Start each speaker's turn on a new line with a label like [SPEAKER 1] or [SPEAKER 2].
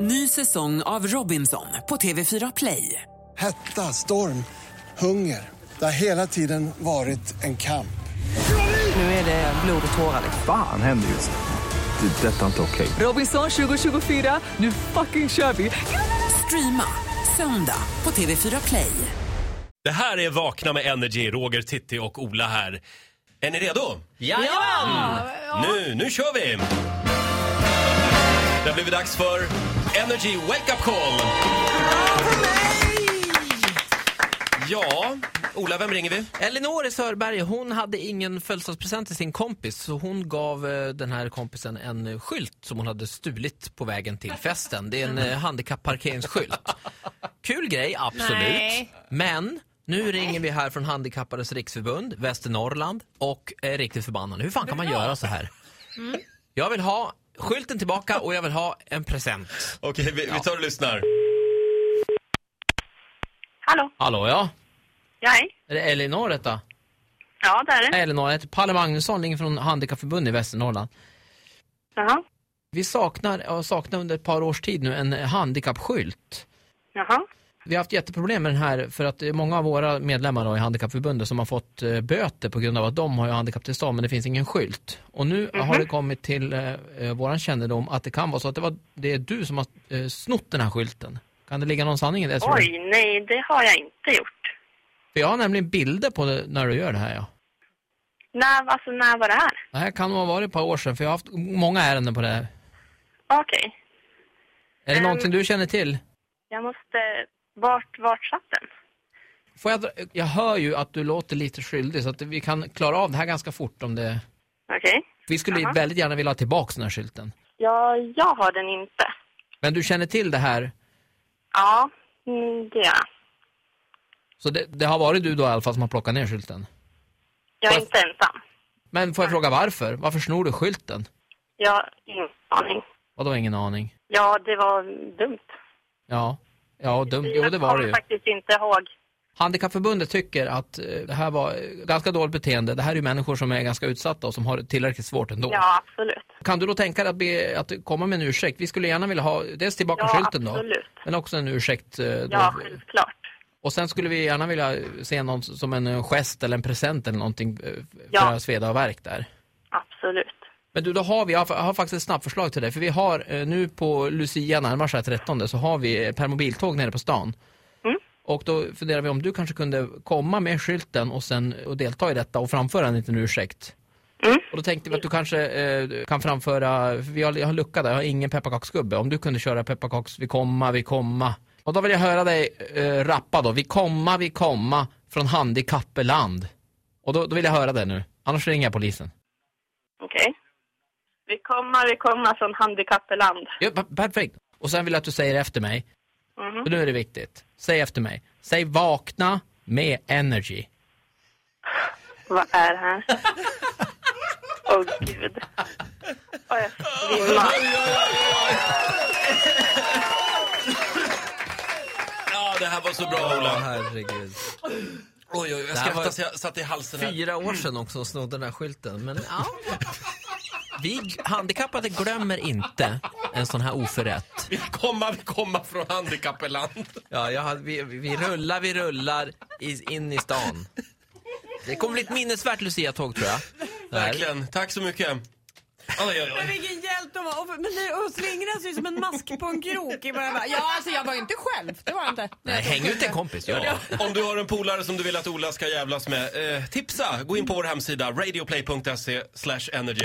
[SPEAKER 1] Ny säsong av Robinson på TV4 Play.
[SPEAKER 2] Hetta, storm, hunger. Det har hela tiden varit en kamp.
[SPEAKER 1] Nu är det blod och tårar.
[SPEAKER 3] Fan händer just nu. Det. är Detta är inte okej.
[SPEAKER 1] Robinson 2024, nu fucking kör vi! Streama söndag på TV4 Play.
[SPEAKER 4] Det här är Vakna med Energy, Roger, Titti och Ola här. Är ni redo? Mm. Nu, nu kör vi! Det har blivit dags för Energy Wake Up Call! Ja, Ola, vem ringer vi?
[SPEAKER 5] Elinor i Sörberge, hon hade ingen födelsedagspresent till sin kompis så hon gav eh, den här kompisen en eh, skylt som hon hade stulit på vägen till festen. Det är en eh, handikappparkeringsskylt. Kul grej, absolut.
[SPEAKER 6] Nej.
[SPEAKER 5] Men nu ringer vi här från Handikappades Riksförbund, Västernorrland och är riktigt förbannade. Hur fan kan man göra så här? Jag vill ha skylten tillbaka och jag vill ha en present.
[SPEAKER 4] Okej, vi, vi tar och lyssnar.
[SPEAKER 7] Hallå?
[SPEAKER 5] Hallå ja?
[SPEAKER 7] Ja, hej.
[SPEAKER 5] Är det Elinor detta?
[SPEAKER 7] Ja, det är det.
[SPEAKER 5] Nej, Elinor, jag heter Palle Magnusson, ringer från Handikappförbundet i Västernorrland.
[SPEAKER 7] Jaha.
[SPEAKER 5] Vi saknar, har saknat under ett par års tid nu, en handikappskylt.
[SPEAKER 7] Jaha.
[SPEAKER 5] Vi har haft jätteproblem med den här för att det är många av våra medlemmar då i Handikappförbundet som har fått eh, böter på grund av att de har ju handikapptillstånd men det finns ingen skylt. Och nu har det kommit till eh, eh, våran kännedom att det kan vara så att det, var, det är du som har eh, snott den här skylten. Kan det ligga någon sanning i det? tror du?
[SPEAKER 7] Oj, nej, det har jag inte gjort.
[SPEAKER 5] För jag har nämligen bilder på det när du gör det här ja.
[SPEAKER 7] När, alltså, när var det här?
[SPEAKER 5] Det här kan ha varit ett par år sedan för jag har haft många ärenden på det här.
[SPEAKER 7] Okej.
[SPEAKER 5] Är det någonting du känner till?
[SPEAKER 7] Jag måste... Vart, vart satt den?
[SPEAKER 5] Får jag, dra- jag hör ju att du låter lite skyldig så att vi kan klara av det här ganska fort om det...
[SPEAKER 7] Okej.
[SPEAKER 5] Vi skulle
[SPEAKER 7] Jaha.
[SPEAKER 5] väldigt gärna vilja ha tillbaka den här skylten.
[SPEAKER 7] Ja, jag har den inte.
[SPEAKER 5] Men du känner till det här,
[SPEAKER 7] Ja, mm, det gör jag.
[SPEAKER 5] så det, det har varit du då i alla fall som har plockat ner skylten.
[SPEAKER 7] Jag är
[SPEAKER 5] Varför?
[SPEAKER 7] inte ensam.
[SPEAKER 5] Men får jag fråga varför? Varför snor du skylten?
[SPEAKER 7] Jag har ingen aning.
[SPEAKER 5] Vadå ingen aning?
[SPEAKER 7] Ja, det var dumt.
[SPEAKER 5] Ja, ja dumt. Jo det var det ju.
[SPEAKER 7] Jag kommer faktiskt inte ihåg.
[SPEAKER 5] Handikappförbundet tycker att eh, det här var eh, ganska dåligt beteende. Det här är ju människor som är ganska utsatta och som har det tillräckligt svårt ändå.
[SPEAKER 7] Ja, absolut.
[SPEAKER 5] Kan du då tänka dig att, be, att komma med en ursäkt? Vi skulle gärna vilja ha dels tillbaka
[SPEAKER 7] Ja,
[SPEAKER 5] skylten då.
[SPEAKER 7] absolut.
[SPEAKER 5] Men också en ursäkt. eh, Då,
[SPEAKER 7] Ja, självklart.
[SPEAKER 5] Och sen skulle vi gärna vilja se någon som en eh, gest eller en present eller någonting eh, för
[SPEAKER 7] Ja.
[SPEAKER 5] Sveda och verk där.
[SPEAKER 7] Absolut.
[SPEAKER 5] Men du, då har vi, jag har jag har faktiskt ett snabbt förslag till dig. För vi har eh, nu på Lucia, närmar sig 13, så har vi eh, permobiltåg nere på stan. Och då funderar vi om du kanske kunde komma med skylten och sen och delta i detta och framföra en liten ursäkt. Och då tänkte vi att du kanske eh, kan framföra, för vi har, jag har en lucka där, jag har ingen pepparkaksgubbe. Om du kunde köra pepparkaks, vi komma, vi komma. Och då vill jag höra dig eh, rappa då, vi komma, vi komma från handikappeland. Och då, då vill jag höra det nu, annars ringer jag polisen.
[SPEAKER 7] Okej. Vi kommer, vi kommer från handikappeland.
[SPEAKER 5] Ja, per- perfekt. Och sen vill jag att du säger efter mig.
[SPEAKER 7] Mhm.
[SPEAKER 5] Och nu är det viktigt. Säg efter mig. Säg vakna med energy.
[SPEAKER 7] Vad är det här? Åh oh, gud. Åh, jag svimmar.
[SPEAKER 4] Ja, det här var så bra, Ola.
[SPEAKER 5] herregud.
[SPEAKER 4] Oj, oj, jag
[SPEAKER 5] här var-
[SPEAKER 4] skrattar så jag satt i halsen här.
[SPEAKER 5] Fyra år sedan också och snodde den här skylten. Men ja. Vi handikappade glömmer inte en sån här oförrätt.
[SPEAKER 4] Vi kommer, vi kommer från handikappeland.
[SPEAKER 5] Ja, jag hade, vi, vi rullar, vi rullar i, in i stan. Det kommer bli ett minnesvärt Lucia-tåg tror jag. Det här.
[SPEAKER 4] Verkligen. Tack så mycket. Oj, oj,
[SPEAKER 6] Men
[SPEAKER 4] oj.
[SPEAKER 6] vilken hjälte hon var. Och, men det, och slingrar sig som en mask på en krok i början. Ja, alltså jag var ju inte själv. Det var jag inte.
[SPEAKER 5] Nej, häng ut en kompis, gör det.
[SPEAKER 4] Ja. Om du har en polare som du vill att Ola ska jävlas med, eh, tipsa! Gå in på vår hemsida, radioplay.se slash energy.